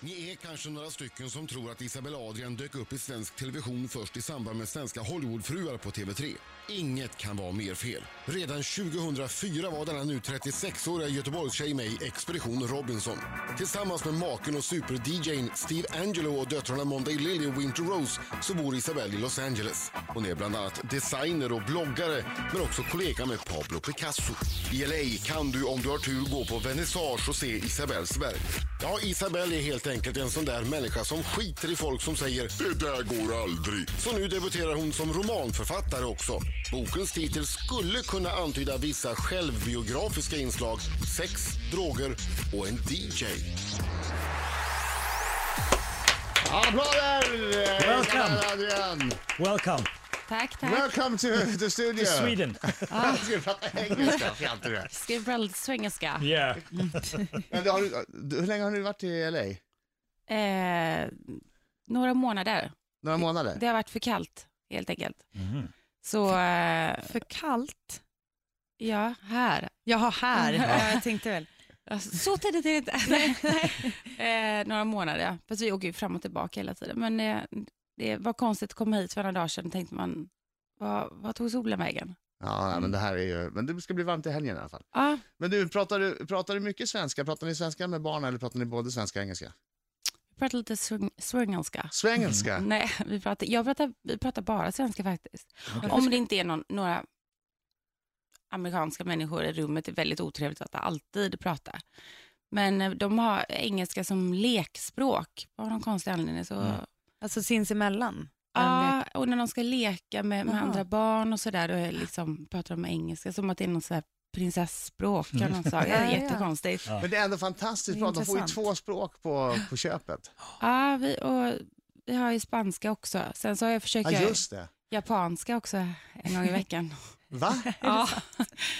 Ni är kanske några stycken som tror att Isabella Adrian dök upp i svensk television först i samband med svenska Hollywoodfruar på TV3. Inget kan vara mer fel. Redan 2004 var denna nu 36-åriga Göteborgstjej med i Expedition Robinson. Tillsammans med maken och super-DJn Steve Angelo och döttrarna Monday Lily och Winter Rose så bor Isabelle i Los Angeles. Hon är bland annat designer och bloggare men också kollega med Pablo Picasso. I LA kan du om du har tur gå på vernissage och se Isabelles verk. Ja, Isabelle är helt enkelt en sån där människa som skiter i folk som säger “Det där går aldrig”. Så nu debuterar hon som romanförfattare också. Bokens titel skulle kunna antyda vissa självbiografiska inslag, sex, droger och en DJ. Applåder! Welcome. Adrian! Welcome Tack, tack. Welcome to the studio! to Sweden. Jag skulle prata engelska, fjantar du. Skriv bröllopssvengelska. Yeah. Men det har du- du- Hur länge har du varit i LA? Eh, några månader. Några månader? Det har varit för kallt, helt enkelt. Mhm. Så, eh, För kallt? ja, här. Jaha, här. Ja. Ja, jag tänkte väl. Alltså, så tidigt är det inte. Nej, nej. eh, några månader, ja. Fast vi åker ju fram och tillbaka hela tiden. Men eh, det var konstigt att komma hit för några dagar sedan. tänkte man, vad, vad tog solen vägen? Ja, ja, men det här är ju... Men det ska bli varmt i helgen i alla fall. Ja, Men du, pratar du, pratar du mycket svenska? Pratar ni svenska med barnen eller pratar ni både svenska och engelska? vi pratade lite swing, swingelska. Svengelska? Mm. Nej, vi pratar, jag pratar, vi pratar bara svenska faktiskt. Om det inte är någon, några amerikanska människor i rummet, det är väldigt otrevligt att alltid prata. Men eh, de har engelska som lekspråk av någon konstig anledning. Mm. Så, Alltså sinsemellan. Ja, och när de ska leka med, med Jaha. andra barn och sådär, då är liksom, pratar de engelska som att det är något så här prinsesspråk. eller något sånt. Det är Mm. Ja, ja. jättekonstigt. Men det är ändå fantastiskt bra. De får ju Intressant. två språk på, på köpet. Ja, vi, och, vi har ju spanska också. Sen så har jag försökt Ja, göra just det. japanska också en gång i veckan. Va? ja.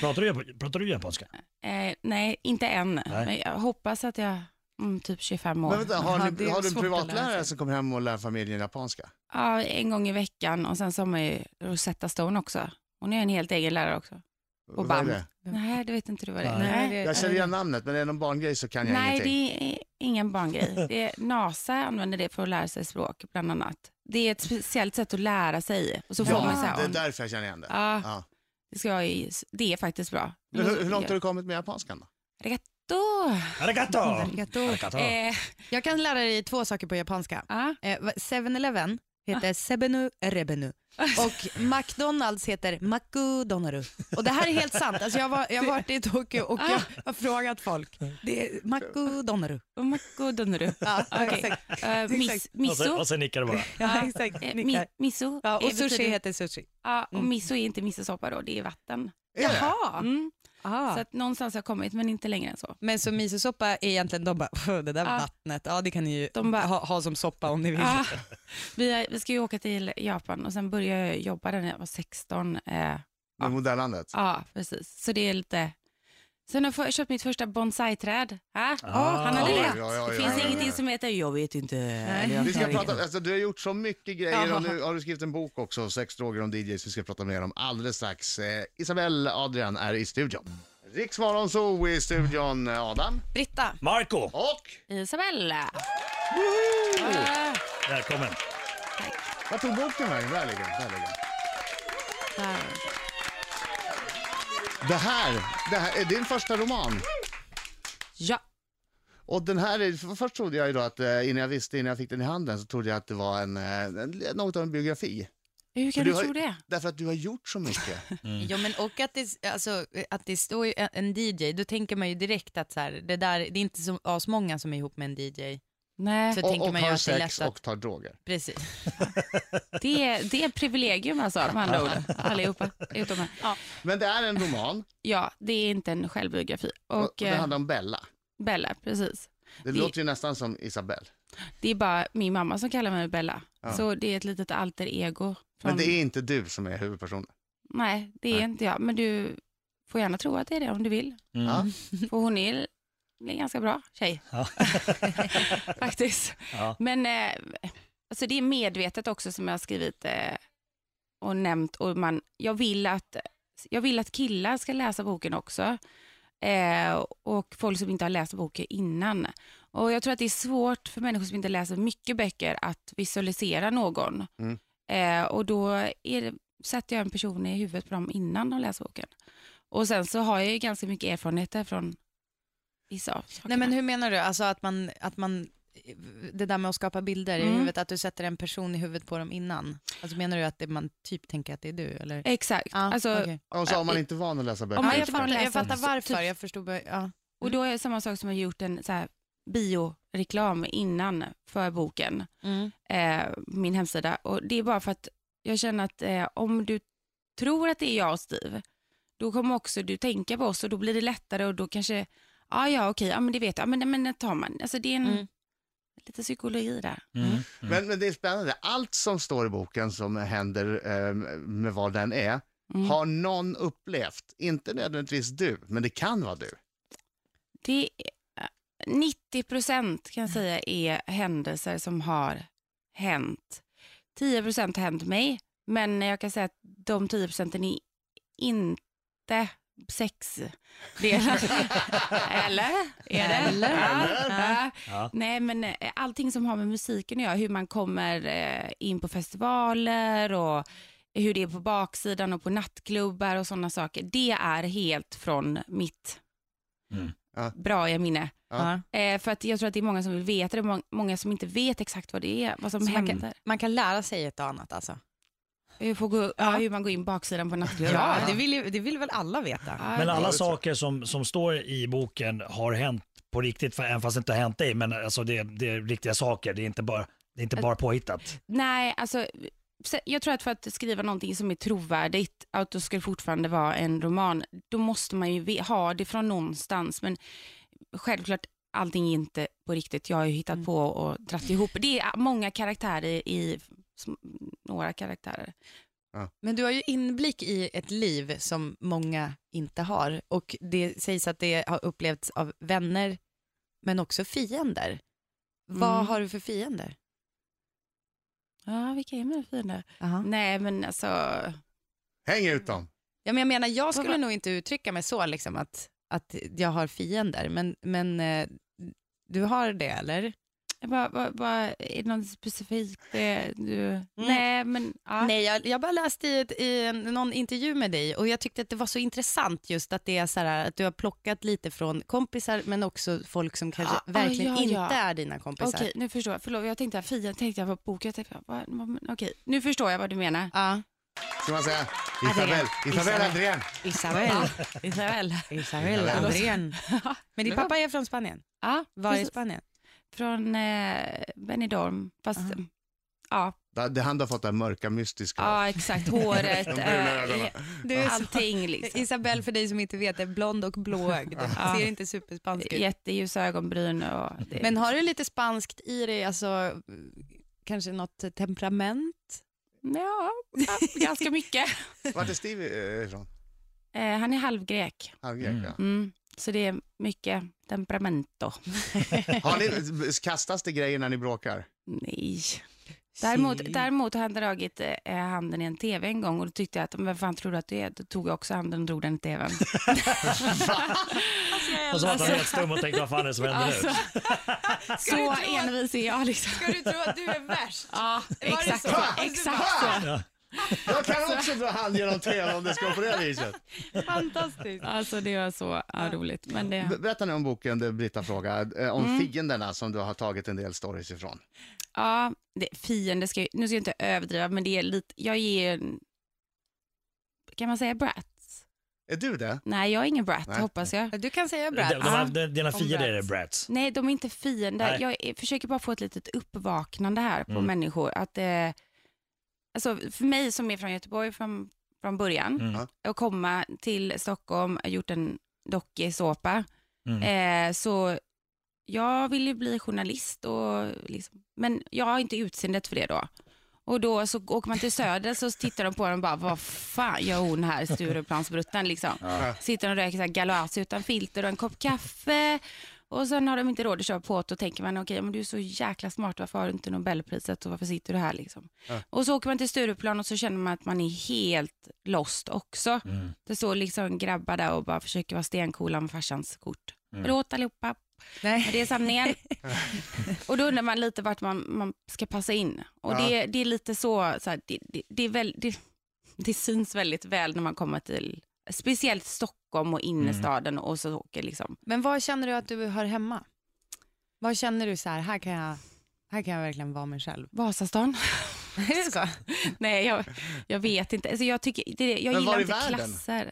Pratar, du, pratar du japanska? eh, nej, inte än. Nej. Men jag hoppas att jag, mm, typ 25 år. Men vänta, har, Jaha, ni, det är har du en svårt att lära privatlärare sig. som kommer hem och lär familjen japanska? Ja, en gång i veckan och sen så har man ju Rosetta Stone också. Hon är en helt egen lärare också. Och Vad är band. det? Nej, det vet inte du vad det är. Nej. Jag känner igen namnet, men är det någon barngrej så kan jag Nej, ingenting. det är ingen barngrej. Det är, NASA använder det för att lära sig språk, bland annat. Det är ett speciellt sätt att lära sig. Och så får man så Ja, här, det är om, därför jag känner igen det. Ja. Ja. det, ska jag, ju- det är faktiskt bra. Men hur, hur långt har du kommit med japanskan då? Arigato! Arigato! Arigato. Arigato. Eh, Jag kan lära dig två saker på japanska. ja. Eh, va- 7-Eleven Ah. heter Sebenu Rebenu och McDonalds heter McDonaldu. Och det här är helt sant. Alltså jag, var, jag har varit i Tokyo och jag Ah. har frågat folk. Det är McDonaldu. Och Makodonaru. Ja, Ah, Okej. exakt. Eh, mis- Exakt. Och Alltså, så, Miso. och så nickar du bara. Ja, exakt. Eh, Nickar. Mi- miso. Ja, och eh, sushi betyder- heter sushi. Ja, och Mm. miso är inte misosoppa då, det är vatten. Är det? Mm. Så Ah. att någonstans har jag kommit, men inte längre än så. Men så misosoppa är egentligen, de bara, "Åh, det där Ja. vattnet, ja det kan ni ju De bara- ha, ha som soppa om ni vill. Ja, Ah. vi, är- vi ska ju åka till Japan och sen började jag jobba där när jag var 16. Eh, Med modelllandet? ja, precis. Så det är lite... Sen har jag få- köpt mitt första bonsai-träd. Ah, Ah. han hade Oj, rätt. oj, oj, oj, det finns oj, oj. ingenting som heter jag vet inte. eller jag Vi ska tar prata, ingen. alltså, du har gjort så mycket grejer Ja. och nu har du skrivit en bok också, Sex droger om DJs. Vi ska prata mer om alldeles strax. Eh, Isabelle Adrian är i studion. Riksmorgon Zoo i studion, eh, Adam Britta, Marco, och... Isabella. Ah, välkommen. Vad tog boken vägen? Där ligger den, där ligger den. där. Det här, det här är din första roman. Ja, Och den här, är- för- först trodde jag ju då att, eh, innan jag visste, innan jag fick den i handen, så trodde jag att det var en, eh, en något av en biografi. hur Men kan du, har- tro det? Därför att du har gjort så mycket. Ja, men och att det, alltså, att det står ju en- en DJ, då tänker man ju direkt att så här, det, där, det är inte så asmånga som är ihop med en DJ. Nej, Så Eh, och tänker och man ju har att det är sex lätt att... och tar droger. Precis. det, är- det är ett privilegium alltså, med andra ord. Allihopa, utom mig. Ja. Men det är en roman ja, det är inte en självbiografi. och, Och, och det eh, handlar om Bella. Bella, precis. Det, det- låter ju nästan som Isabelle. Det är bara min mamma som kallar mig Bella. Ja. Så det är ett litet alter ego. Från... Men det är inte du som är huvudpersonen. Nej, det är Nej. inte jag. Men du får gärna tro att det är det om du vill. Mm. Ja. För hon är en ganska bra tjej. Ja. Faktiskt. Ja. Men eh, alltså det är medvetet också som jag har skrivit eh, och nämnt. Och man, jag, vill att, jag vill att killar ska läsa boken också. Eh, och folk som inte har läst boken innan. Och jag tror att det är svårt för människor som inte läser mycket böcker att visualisera någon. Mm. Eh, och då är det, sätter jag en person i huvudet på dem innan de läser boken. Och sen så har jag ju ganska mycket erfarenheter från vissa av Nej, sakerna. men hur menar du? Alltså att man, att man, det där med att skapa bilder i Mm. huvudet, att du sätter en person i huvudet på dem innan. Alltså menar du att det, man typ tänker att det är du? Eller? Exakt. Ja, alltså, okej. Och så om man inte är van att läsa böcker. Om man ja, jag, inte får fattar, läsa jag fattar så- varför, typ- jag förstod. bara- Ja. Och då är det samma sak som jag gjort en så här, bioreklam innan för boken. Mm. eh, min hemsida. Och Det är bara för att jag känner att eh, om du tror att det är jag och Steve, då kommer också du tänka på oss och då blir det lättare och då kanske, ja ja okej, ja men det vet jag, ja, men, men det tar man. Alltså det är en, Mm. lite psykologi där. Mm. Men, men det är spännande. Allt som står i boken som händer eh, med vad den är, Mm. har någon upplevt. Inte nödvändigtvis du, men det kan vara du. Det är, 90 procent kan jag säga är händelser som har hänt. 10 procent har hänt mig, men jag kan säga att de 10 procenten är inte sex Eller? Är det? Eller? Ja. Ja. Ja. Nej, men eh, allting som har med musiken att göra, hur man kommer eh, in på festivaler och hur det är på baksidan och på nattklubbar och sådana saker. Det är helt från mitt Mm. Ja. bra jag minne. Ja. Eh, för att jag tror att det är många som vill veta det, må- många som inte vet exakt vad det är, vad som Så man händer. kan, man kan lära sig ett och annat alltså. Hur, får gå, ja. hur man går in baksidan på nattklubbar. Ja, det vill, ju- det vill väl alla veta? Ja, Men det alla tror jag. saker som, som står i boken har hänt på riktigt, för, även fast det inte har hänt dig. Men alltså, det, det är riktiga saker, det är inte bara, det är inte bara påhittat. Nej, alltså se- jag tror att för att skriva någonting som är trovärdigt, att då ska det fortfarande vara en roman, då måste man ju ve- ha det från någonstans. Men självklart, allting är inte på riktigt. Jag har ju hittat på och dratt ihop. Det är många karaktärer i, i sm- några karaktärer. Men du har ju inblick i ett liv som många inte har och det sägs att det har upplevts av vänner men också fiender. Vad Mm. har du för fiender? Ja, vilka är mina fiender? Nej, men alltså, Häng ut dem! Ja, men jag menar, jag skulle Vad- nog inte uttrycka mig så, liksom, att, att jag har fiender, men, men eh, du har det eller? jag bara, bara, bara, är det något specifikt eh, du... Nej, men ja. Mm. Nej, jag, jag bara läste i, ett, i en, någon intervju med dig och jag tyckte att det var så intressant just att, det är så här, att du har plockat lite från kompisar men också folk som kanske Ah, ah, verkligen ja, ja. inte är dina kompisar. Okej, nu förstår jag. Förlåt, jag tänkte att fienden tänkte jag på boken. Jag tänkte, vad, vad, men okej, nu förstår jag vad du menar. Ja. Ska man säga Isabel, Isabel Andrén. Isabel. Isabel. Isabel Andrén. Men din pappa är från Spanien? Ja, Var i precis. Spanien? Från eh, Benidorm, fast ja, Det- Det han har fått det här mörka mystiska. ja, exakt. Håret, De bruna eh, ögonen. Du är så- allting liksom. Isabel för dig som inte vet är blond och blåögd. Ja. Ser inte superspansk ut. Jätteljusa ögonbryn och det. Men har du lite spanskt i dig, alltså kanske något temperament? liksom- ja, ja, ganska mycket. Vart är Steve eh, ifrån? Eh, han är halvgrek, Halvgrek, Mm. ja. mm, så det är mycket temperamento. Har ni, kastas det grejer när ni bråkar? Nej. Däremot, däremot har han dragit eh, handen i en tv en gång och då tyckte jag att, men vad fan tror du att det är? Då tog jag också handen och drog den i tvn. Alltså, Och så var han helt stum och tänkte, vad fan är det som händer nu? Alltså, Så envis är jag liksom. Ska du tro att du är värst? Ja, exakt så? så. Alltså, Exakt så. Jag kan också dra hand genom tvn om det ska på det viset. Fantastiskt. Alltså det var så ja, Mm. roligt. Men det, Be- Berätta nu om boken där Britta frågade, eh, om fienderna som du har tagit en del stories ifrån. ja, det, fiende ska ju, nu ska jag inte överdriva, men det är lite, jag ger, en- kan man säga brats? Är du det? Nej, jag är ingen brat Nej. hoppas jag. Du kan säga De, de, Brad. här- de, dina Om fiender är brats. brats. Nej, de är inte fiender. Nej. Jag är, försöker bara få ett litet uppvaknande här på Mm. människor. Att, eh, alltså, för mig som är från Göteborg från, från början, Mm. att komma till Stockholm, jag har gjort en dokusåpa. Mm. Eh, så jag vill ju bli journalist, och liksom, men jag har inte utseendet för det då. Och då så åker man till Söder så tittar de på den och bara, vad fan gör hon här, Stureplansbruttan liksom. Sitter och röker så här galoas utan filter och en kopp kaffe. Och sen har de inte råd att köpa på och tänker man, okej men du är så jäkla smart, varför har du inte Nobelpriset och varför sitter du här liksom? Och så åker man till Stureplan och så känner man att man är helt lost också. Det står liksom grabbar där och bara försöker vara stencoola med farsans kort. Förlåt allihopa, Men Nej. det är sanningen. och då undrar man lite vart man, man ska passa in. Och Ja. det, det är lite så, så här, det, det, det, är väl, det, det syns väldigt väl när man kommer till speciellt Stockholm och innerstaden och så åker liksom. Men vad känner du att du hör hemma? Vad känner du så här, här kan jag, här kan jag verkligen vara mig själv? Vasastan? Är det så? Nej, jag, jag vet inte. Alltså, jag tycker, det, jag Men var gillar i inte världen? klasser.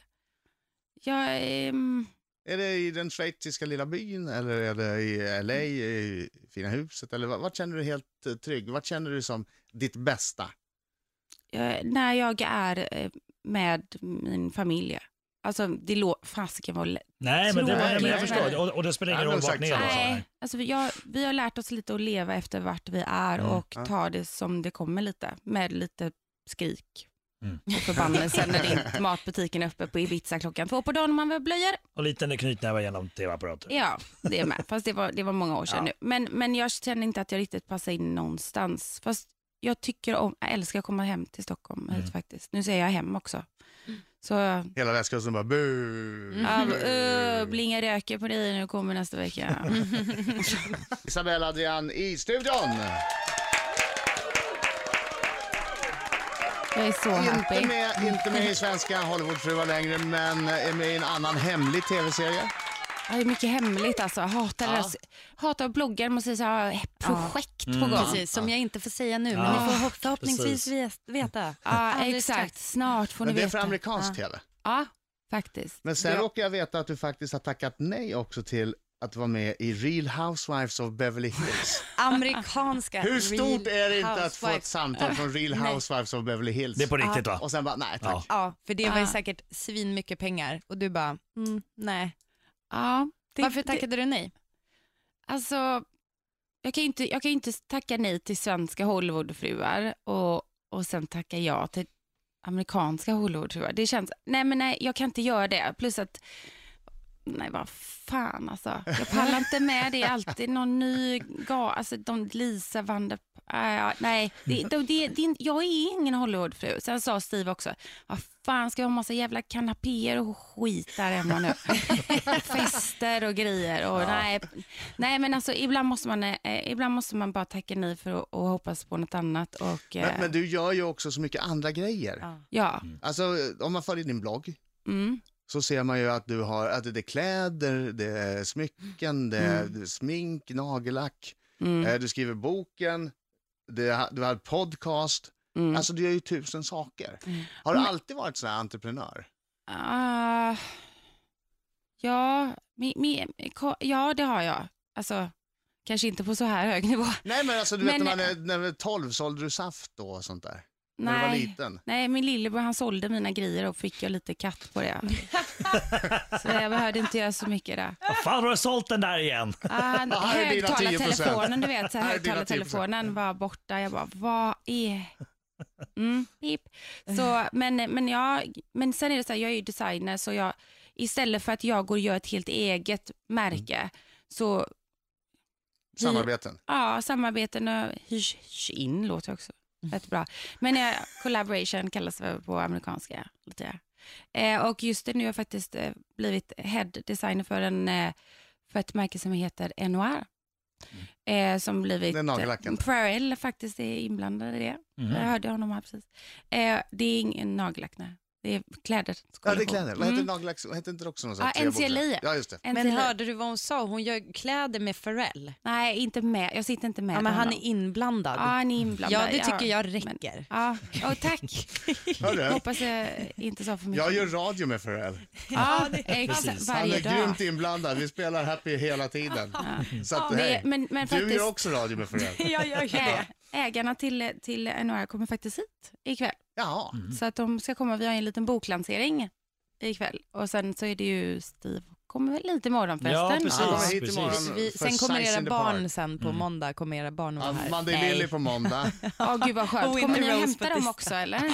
Jag, ehm, Är det i den schweiziska lilla byn eller är det i LA, i fina huset? Eller vart vart känner du dig helt eh, trygg? Vart känner du som ditt bästa? jag, när jag är eh, med min familj, alltså det låter, fasiken vad lätt. Nej, men, det, Tror var- jag. men jag Nej. förstår. Och, och det spelar ingen Nej, roll men vart exakt ni är så. då? så Nej, här. alltså vi, jag, vi har lärt oss lite att leva efter vart vi är Mm. och Ja. ta det som det kommer lite, med lite skrik Mm. och förbannelse när det inte matbutiken är öppe på Ibiza klockan två på dagen och man behöver blöjor. Och lite knytnäve genom tv-apparater. Ja, det är med. Fast det var, det var många år sedan Ja. nu. Men, men jag känner inte att jag riktigt passar in någonstans. Fast jag tycker om, jag älskar att komma hem till Stockholm Mm. hit faktiskt. Nu säger jag hem också. Mm. Så Hela västkusten bara bu. Ja, uh, blinga röker på dig nu kommer nästa vecka. Mm. Isabella Adrian i studion! Jag är så Inte happy. med, inte med i svenska Hollywoodfruar längre, men är med i en annan hemlig tv-serie. Ja, Det är mycket hemligt alltså. Jag hatar, Ja. deras, hatar bloggar, man säger så här, "Ah, projekt Mm. på gång. Precis, som jag inte får säga nu, men Ja, ni får hopp- förhoppningsvis precis. vet- veta. Ja, Alldeles exakt. strax. Snart får ni Men det är för veta. amerikansk tv. Ja, faktiskt. Men sen Det- råkar jag veta att du faktiskt har tackat nej också till att vara med i Real Housewives of Beverly Hills. Amerikanska Hur stort Real är det inte att få ett Housewives. samtal från Real Nej. Housewives of Beverly Hills? Det är på riktigt va? Och sen bara, nej tack. Ja. Ja, för det var ju Ah. säkert svin mycket pengar och du bara, mm, nej. ja, det, Varför det, tackade du nej? Alltså, jag kan ju inte, jag kan ju inte tacka nej till svenska Hollywoodfruar och, och sen tacka ja till amerikanska Hollywoodfruar. Det känns, nej men nej, jag kan inte göra det. Plus att, nej vad fan alltså. Jag pallar inte med det. är Alltid någon ny ga, alltså de Lisa van der, Ah, ja, nej, det, det, det, det, är inte- jag är ingen Hollywoodfru. Sen sa Steve också, vad fan ska jag ha massa jävla kanapéer och skit där hemma nu? Fester och grejer. Och, nej, nej, men alltså ibland måste man, eh, ibland måste man bara tacka nej för att och hoppas på något annat. Och, eh, Men, men du gör ju också så mycket andra grejer. ja, Alltså, om man följer din blogg mm, så ser man ju att du har, att det är kläder, det är smycken, det är smink, nagellack. mm, Eh, Du skriver boken, det, du har podcast. mm. Alltså du gör ju tusen saker. Har du alltid varit sån här entreprenör? Ah, ja, mi, mi, ko- ja, det har jag. Alltså, kanske inte på så här hög nivå. Nej men alltså du vet Men- när man är, när man är 12 sålde du saft då och sånt där? När du var Nej. liten? Nej, min lillebror han sålde mina grejer och fick jag lite katt på det. så jag behövde inte göra så mycket där. Vad fan har du sålt den där igen? Ah, han- Ja, här är dina 10%. Högtalartelefonen, du vet, så här, Här är dina högtalartelefonen var borta. Jag bara, vad är... Mm, pip. Så, men, men, jag, men sen är det så här, jag är ju designer så jag, istället för att jag går och gör ett helt eget märke Mm. så Samarbeten? Ja, samarbeten och hyrs, hyrs in låter ju också rätt bra. Men eh, collaboration kallas det på amerikanska. Lite. Eh, och just det, nu har jag faktiskt eh, blivit head designer för, en, eh, för ett märke som heter NOR. Eh, som blivit... Det är nagellacken. Pharrell faktiskt är inblandad i det. Jag hörde honom här precis. Eh, det är ingen nagellack, nej. Det är kläder. Ja det är kläder. Vad heter Mm. nagellack? Vad heter inte det också någon sån Ja, här tre NCLI. bokstäver? Ja just det. Men NCLI. hörde du vad hon sa? Hon gör kläder med Pharrell. Nej, inte med. Jag sitter inte med Ja, men han honom. är inblandad. Ja, han är inblandad. Ja, det tycker jag räcker. Ja, och tack. Hör du? Hoppas jag inte sa för mycket. Jag gör radio med Pharrell. ja, exakt, Precis. Han varje är dag. grymt inblandad. Vi spelar Happy hela tiden. Så att, Det, hej. men men Du gör faktiskt, också radio med Pharrell. Jag gör ä, ägarna till, till NOR kommer faktiskt hit ikväll. Jaha. Så att de ska komma, vi har en liten boklansering ikväll. Och sen så är det ju Steve, kommer väl lite imorgon förresten. Ja, precis. Han kommer hit precis. imorgon Vi, för sen kommer Sights era in the Park. Mm. barn sen på måndag, kommer era barn vara Ja, här. Monday Nej. Lily på måndag. Ja, gud vad Och skönt. Kommer inte ni att Rose hämta dem Batista. också eller?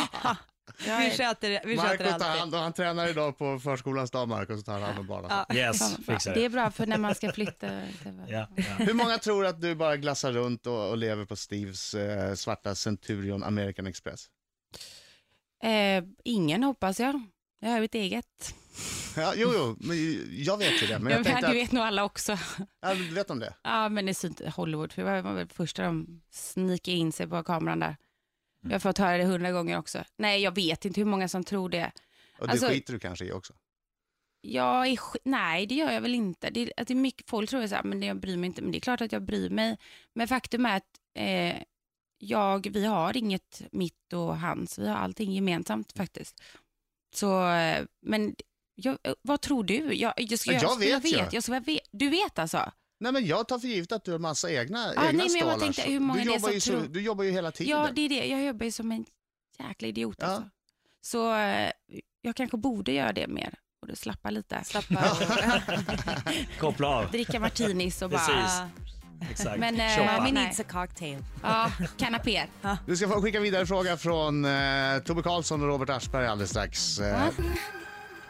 Jag Vi är- sköter, vi sköter Marco tar alltid. hand om, han tränar idag på förskolans dag Marco, så tar han hand om barnen. Ja. Yes, Fan, fixar det det. är bra för när man ska flytta. det var- Ja, ja. Hur många tror att du bara glassar runt och, och lever på Steves eh, svarta Centurion American Express? Eh, ingen hoppas jag. Jag har mitt eget. Ja, jo, jo, men jag vet ju det. Men Men jag tänkte det att, vet nog alla också. ja, du vet om det? Ja, men det syns inte Hollywood, för det var väl första de snikade in sig på kameran där. Jag Mm. har fått höra det hundra gånger också. Nej, jag vet inte hur många som tror det. Och det Alltså- skiter du kanske i också. Jag är, sk- nej, det gör jag väl inte. Det, är- att det är mycket, folk tror att men det- jag bryr mig inte, men det är klart att jag bryr mig. Men faktum är att eh, jag, vi har inget mitt och hans, vi har allting gemensamt faktiskt. Så, eh, men jag, eh, vad tror du? Jag, jag, ska, Men jag skulle- vet ju. jag, skulle- jag vet, Du vet alltså? Nej, men jag tar för givet att du har massa egna, egna Ah, nej, men jag bara stålar. tänkte, så- hur många du, det är jobbar som ju så, tror- du jobbar ju hela tiden. Ja, det är det. Jag jobbar ju som en jäkla idiot Ja. alltså. Så eh, jag kanske borde göra det mer och då slappa lite. Slappa av. Koppla av. Dricka martinis och bara... Precis. Exakt. Men, eh, Shoppa. men- Mommy nej. needs a cocktail. Ja, kanapéer. Du ska få skicka vidare en fråga från eh, Tobbe Karlsson och Robert Aschberg alldeles strax. Eh,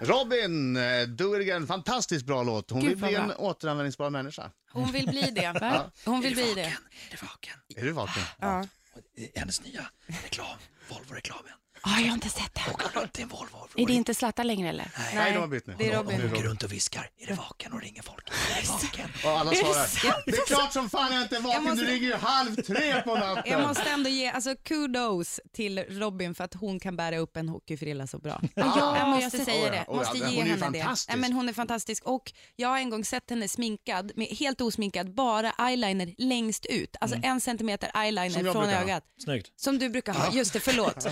Robin eh, Duergen, fantastiskt bra låt. Hon Gud, vill bli vad en bra. återanvändningsbar människa. Hon vill bli det. Va? Hon vill bli det. Vaken. Är du vaken? Är du vaken? Ah, Ja. Och det är Hennes nya reklam, Volvo-reklamen. Ja, jag har inte sett det. Och han har inte en Volvo. Är det inte Zlatan längre eller? Nej, de har bytt nu. det är De- Robin. de- de- Åker runt och viskar, är du vaken? Och ringer folk, är du vaken? Och alla svarar, sant? det är klart som fan jag inte är vaken, Jag måste- du ligger ju halv tre på natten. Jag måste ändå ge alltså, kudos till Robin för att hon kan bära upp en hockeyfrilla så bra. ja, jag måste jag ser- säga Oj, det. oj, Måste oj, ge hon är ju henne fantastisk. det. Nej, men hon är fantastisk och jag har en gång sett henne sminkad, med, helt osminkad, bara eyeliner längst ut. Alltså en centimeter Mm. Som eyeliner jag från brukar ha. ögat. Snyggt. Som du brukar ha, just det, förlåt.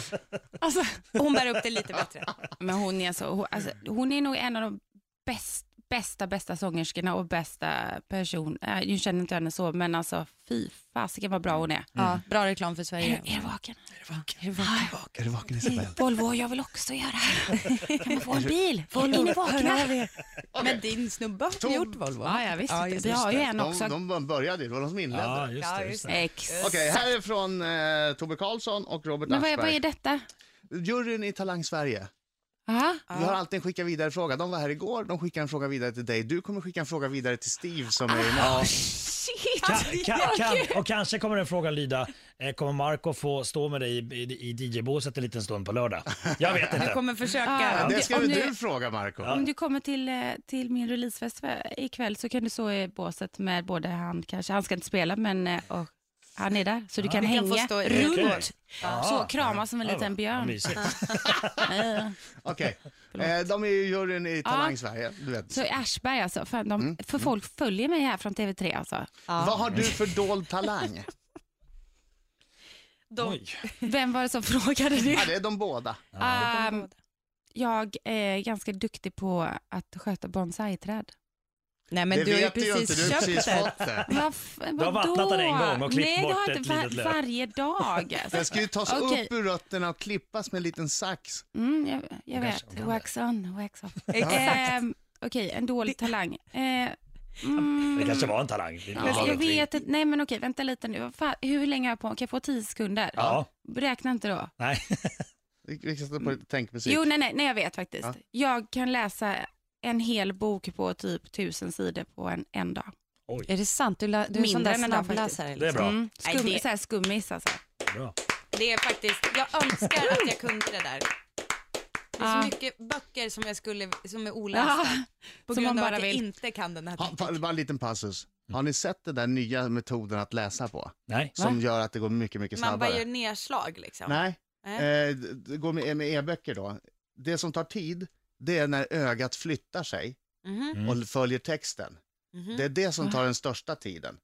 Alltså, hon bär upp det lite bättre. Men hon är, så, hon, alltså, hon är nog en av de bäst, bästa, bästa sångerskorna och bästa person. Äh, jag känner inte henne så, men alltså fy fasiken vad bra hon är. Ja, bra reklam för Är, Sverige. är du vaken? Är du vaken? Är du vaken Isabel? Volvo, jag vill också göra. Kan man få en bil? Volvo, är ni vakna? Men din snubbe har Tom- gjort Volvo. Ja, ja, visst. Ja, just Vi har ju en De, också. de började ju, det var de som inledde. Ja, just Ja, det. just Just det. Ex. Okej, här är från eh, Tobbe Karlsson och Robert Men vad är, vad Aschberg. är detta? Juryn i Talang Sverige. Aha. Vi har alltid en skicka vidare fråga. De var här igår, de skickar en fråga vidare till dig. Du kommer skicka en fråga vidare till Steve som är ja. Alltså, Ka- ka- kan, och kanske kommer den frågan lyda, eh, kommer Marco få stå med dig i, i, i DJ-båset en liten stund på lördag? Jag vet Jag inte. kommer Ja, försöka. om Det du- ska om väl du- du fråga Marco Om du kommer till, eh, till min releasefest för- ikväll så kan du stå i båset med både han kanske, han ska inte spela men eh, och, han är där så du kan Vi kan få hänga stå i- Okej. runt. Ja. Så krama som en Ja, liten vad- vad björn. mysigt. Eh, Okej, eh, de är ju juryn i Talang Ja. Sverige, du vet. Så Aschberg alltså, fan, de, Mm, för folk följer mig här från TV3 alltså. Vad har du för dold talang? De, Oj. Vem var det som frågade det? ja, det är de båda. ah, Ehm, jag är ganska duktig på att sköta bonsai-träd. nej, men det du har ju vet du ju inte, precis du har köpt precis det. fått det. Varf- Du har vattnat den en gång och klippt Nej, bort det har jag ett inte var- litet löv. varje dag. alltså. Den ska ju tas Okej. upp ur rötterna och klippas med en liten sax. Mm, jag jag kanske vet. kan det. Wax on, wax off. Exakt. Ehm, Okej, en dålig talang. Eh, mm, Det kanske var en talang. alltså, jag vet inte. Nej, men okej, vänta lite nu. Vad Fan, hur länge har jag på Kan jag få tio sekunder? Ja, Räkna inte då. nej. Vi vi kan sätta på lite tänkmusik. Mm. Jo, nej, nej, nej, jag vet faktiskt. Ja. Jag kan läsa en hel bok på typ tusen sidor på en, en dag. Är det sant? Du, la, du är en sån Mindre där än en dag snabbläsare. liksom. Det är bra. Eh, Mm, skum, Nej, det- Så här skummis alltså. bra. Det är faktiskt, jag önskar att jag kunde det där. Det är Ja. så mycket böcker som, jag skulle, som är olästa Ja, på som grund man av att bara jag vill. inte kan den här. Ha, pa- bara en liten passus. Har ni sett den där nya metoden att läsa på? Nej. Som gör att det går mycket, mycket Man bara gör snabbare. nedslag liksom. Nej, Nej. eh, d- det går med med e-böcker då. Det som tar tid, det är när ögat flyttar sig Mhm, Mm. och följer texten. mhm. Mm. Det är det Ah. som tar den största tiden.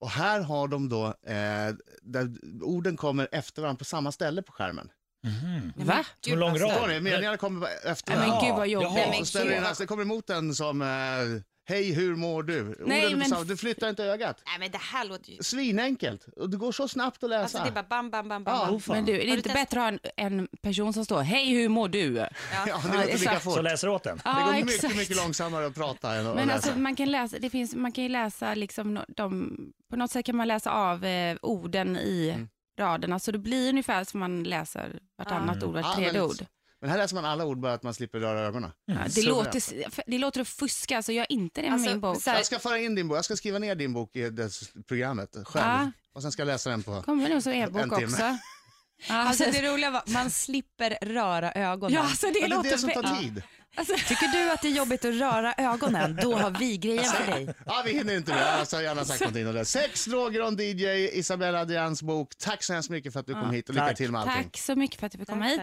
Och här har de då, eh, där orden kommer efter varandra på samma ställe på skärmen. Mhm. Nej, men Va? gud, alltså, En lång vad rad. stört. Förstår ni? Meningarna kommer bara efter Nej, men varandra. gud vad jobbigt. Jaha. men Och ställer in, gud. alltså, det kommer emot en som, eh, hej hur mår du? Nej, orden är på men- samma, du flyttar inte ögat. Nej men det här låter ju... Svinenkelt, och det går så snabbt att läsa. Alltså det är bara bam, bam, bam, Ja. bam. bam. Åh, fan. Men du, är det Har du inte testat- bättre att ha en, en person som står, hej hur mår du? Ja, Ja, Ja, det det låter är lika sant. fort. Så läser du åt den? Det går mycket, mycket långsammare att prata än att Men läsa. alltså, man kan läsa, det finns, man kan ju läsa liksom no- de, på något sätt kan man läsa av eh, orden i Mm. raderna, så det blir ungefär som man läser vartannat ord, vart Ja, tredje Ah. men- ord. Men här läser man alla ord bara att man slipper röra ögonen. Ja, det, Suveränt. låter, det låter att fuska, så jag är inte det med Alltså, min bok. så här- Jag ska föra in din bok, jag ska skriva ner din bok i det s- programmet själv. Ja. Och sen ska jag läsa den på... Kommer nog som En e-bok timme. också. Ja, Alltså så- det roliga var, man slipper röra ögonen. ja, så det Ja, det är låter... det som vä- tar tid. Alltså, Tycker du att det är jobbigt att röra ögonen, då har vi grejen för Alltså, dig. Ja, vi hinner inte med. Alltså, jag har gärna sagt någonting om det. Sex droger om DJ, Isabella Adrians bok. Tack så hemskt mycket för att du kom hit och lycka Tack. till med allting. tack så mycket för att du fick komma hit.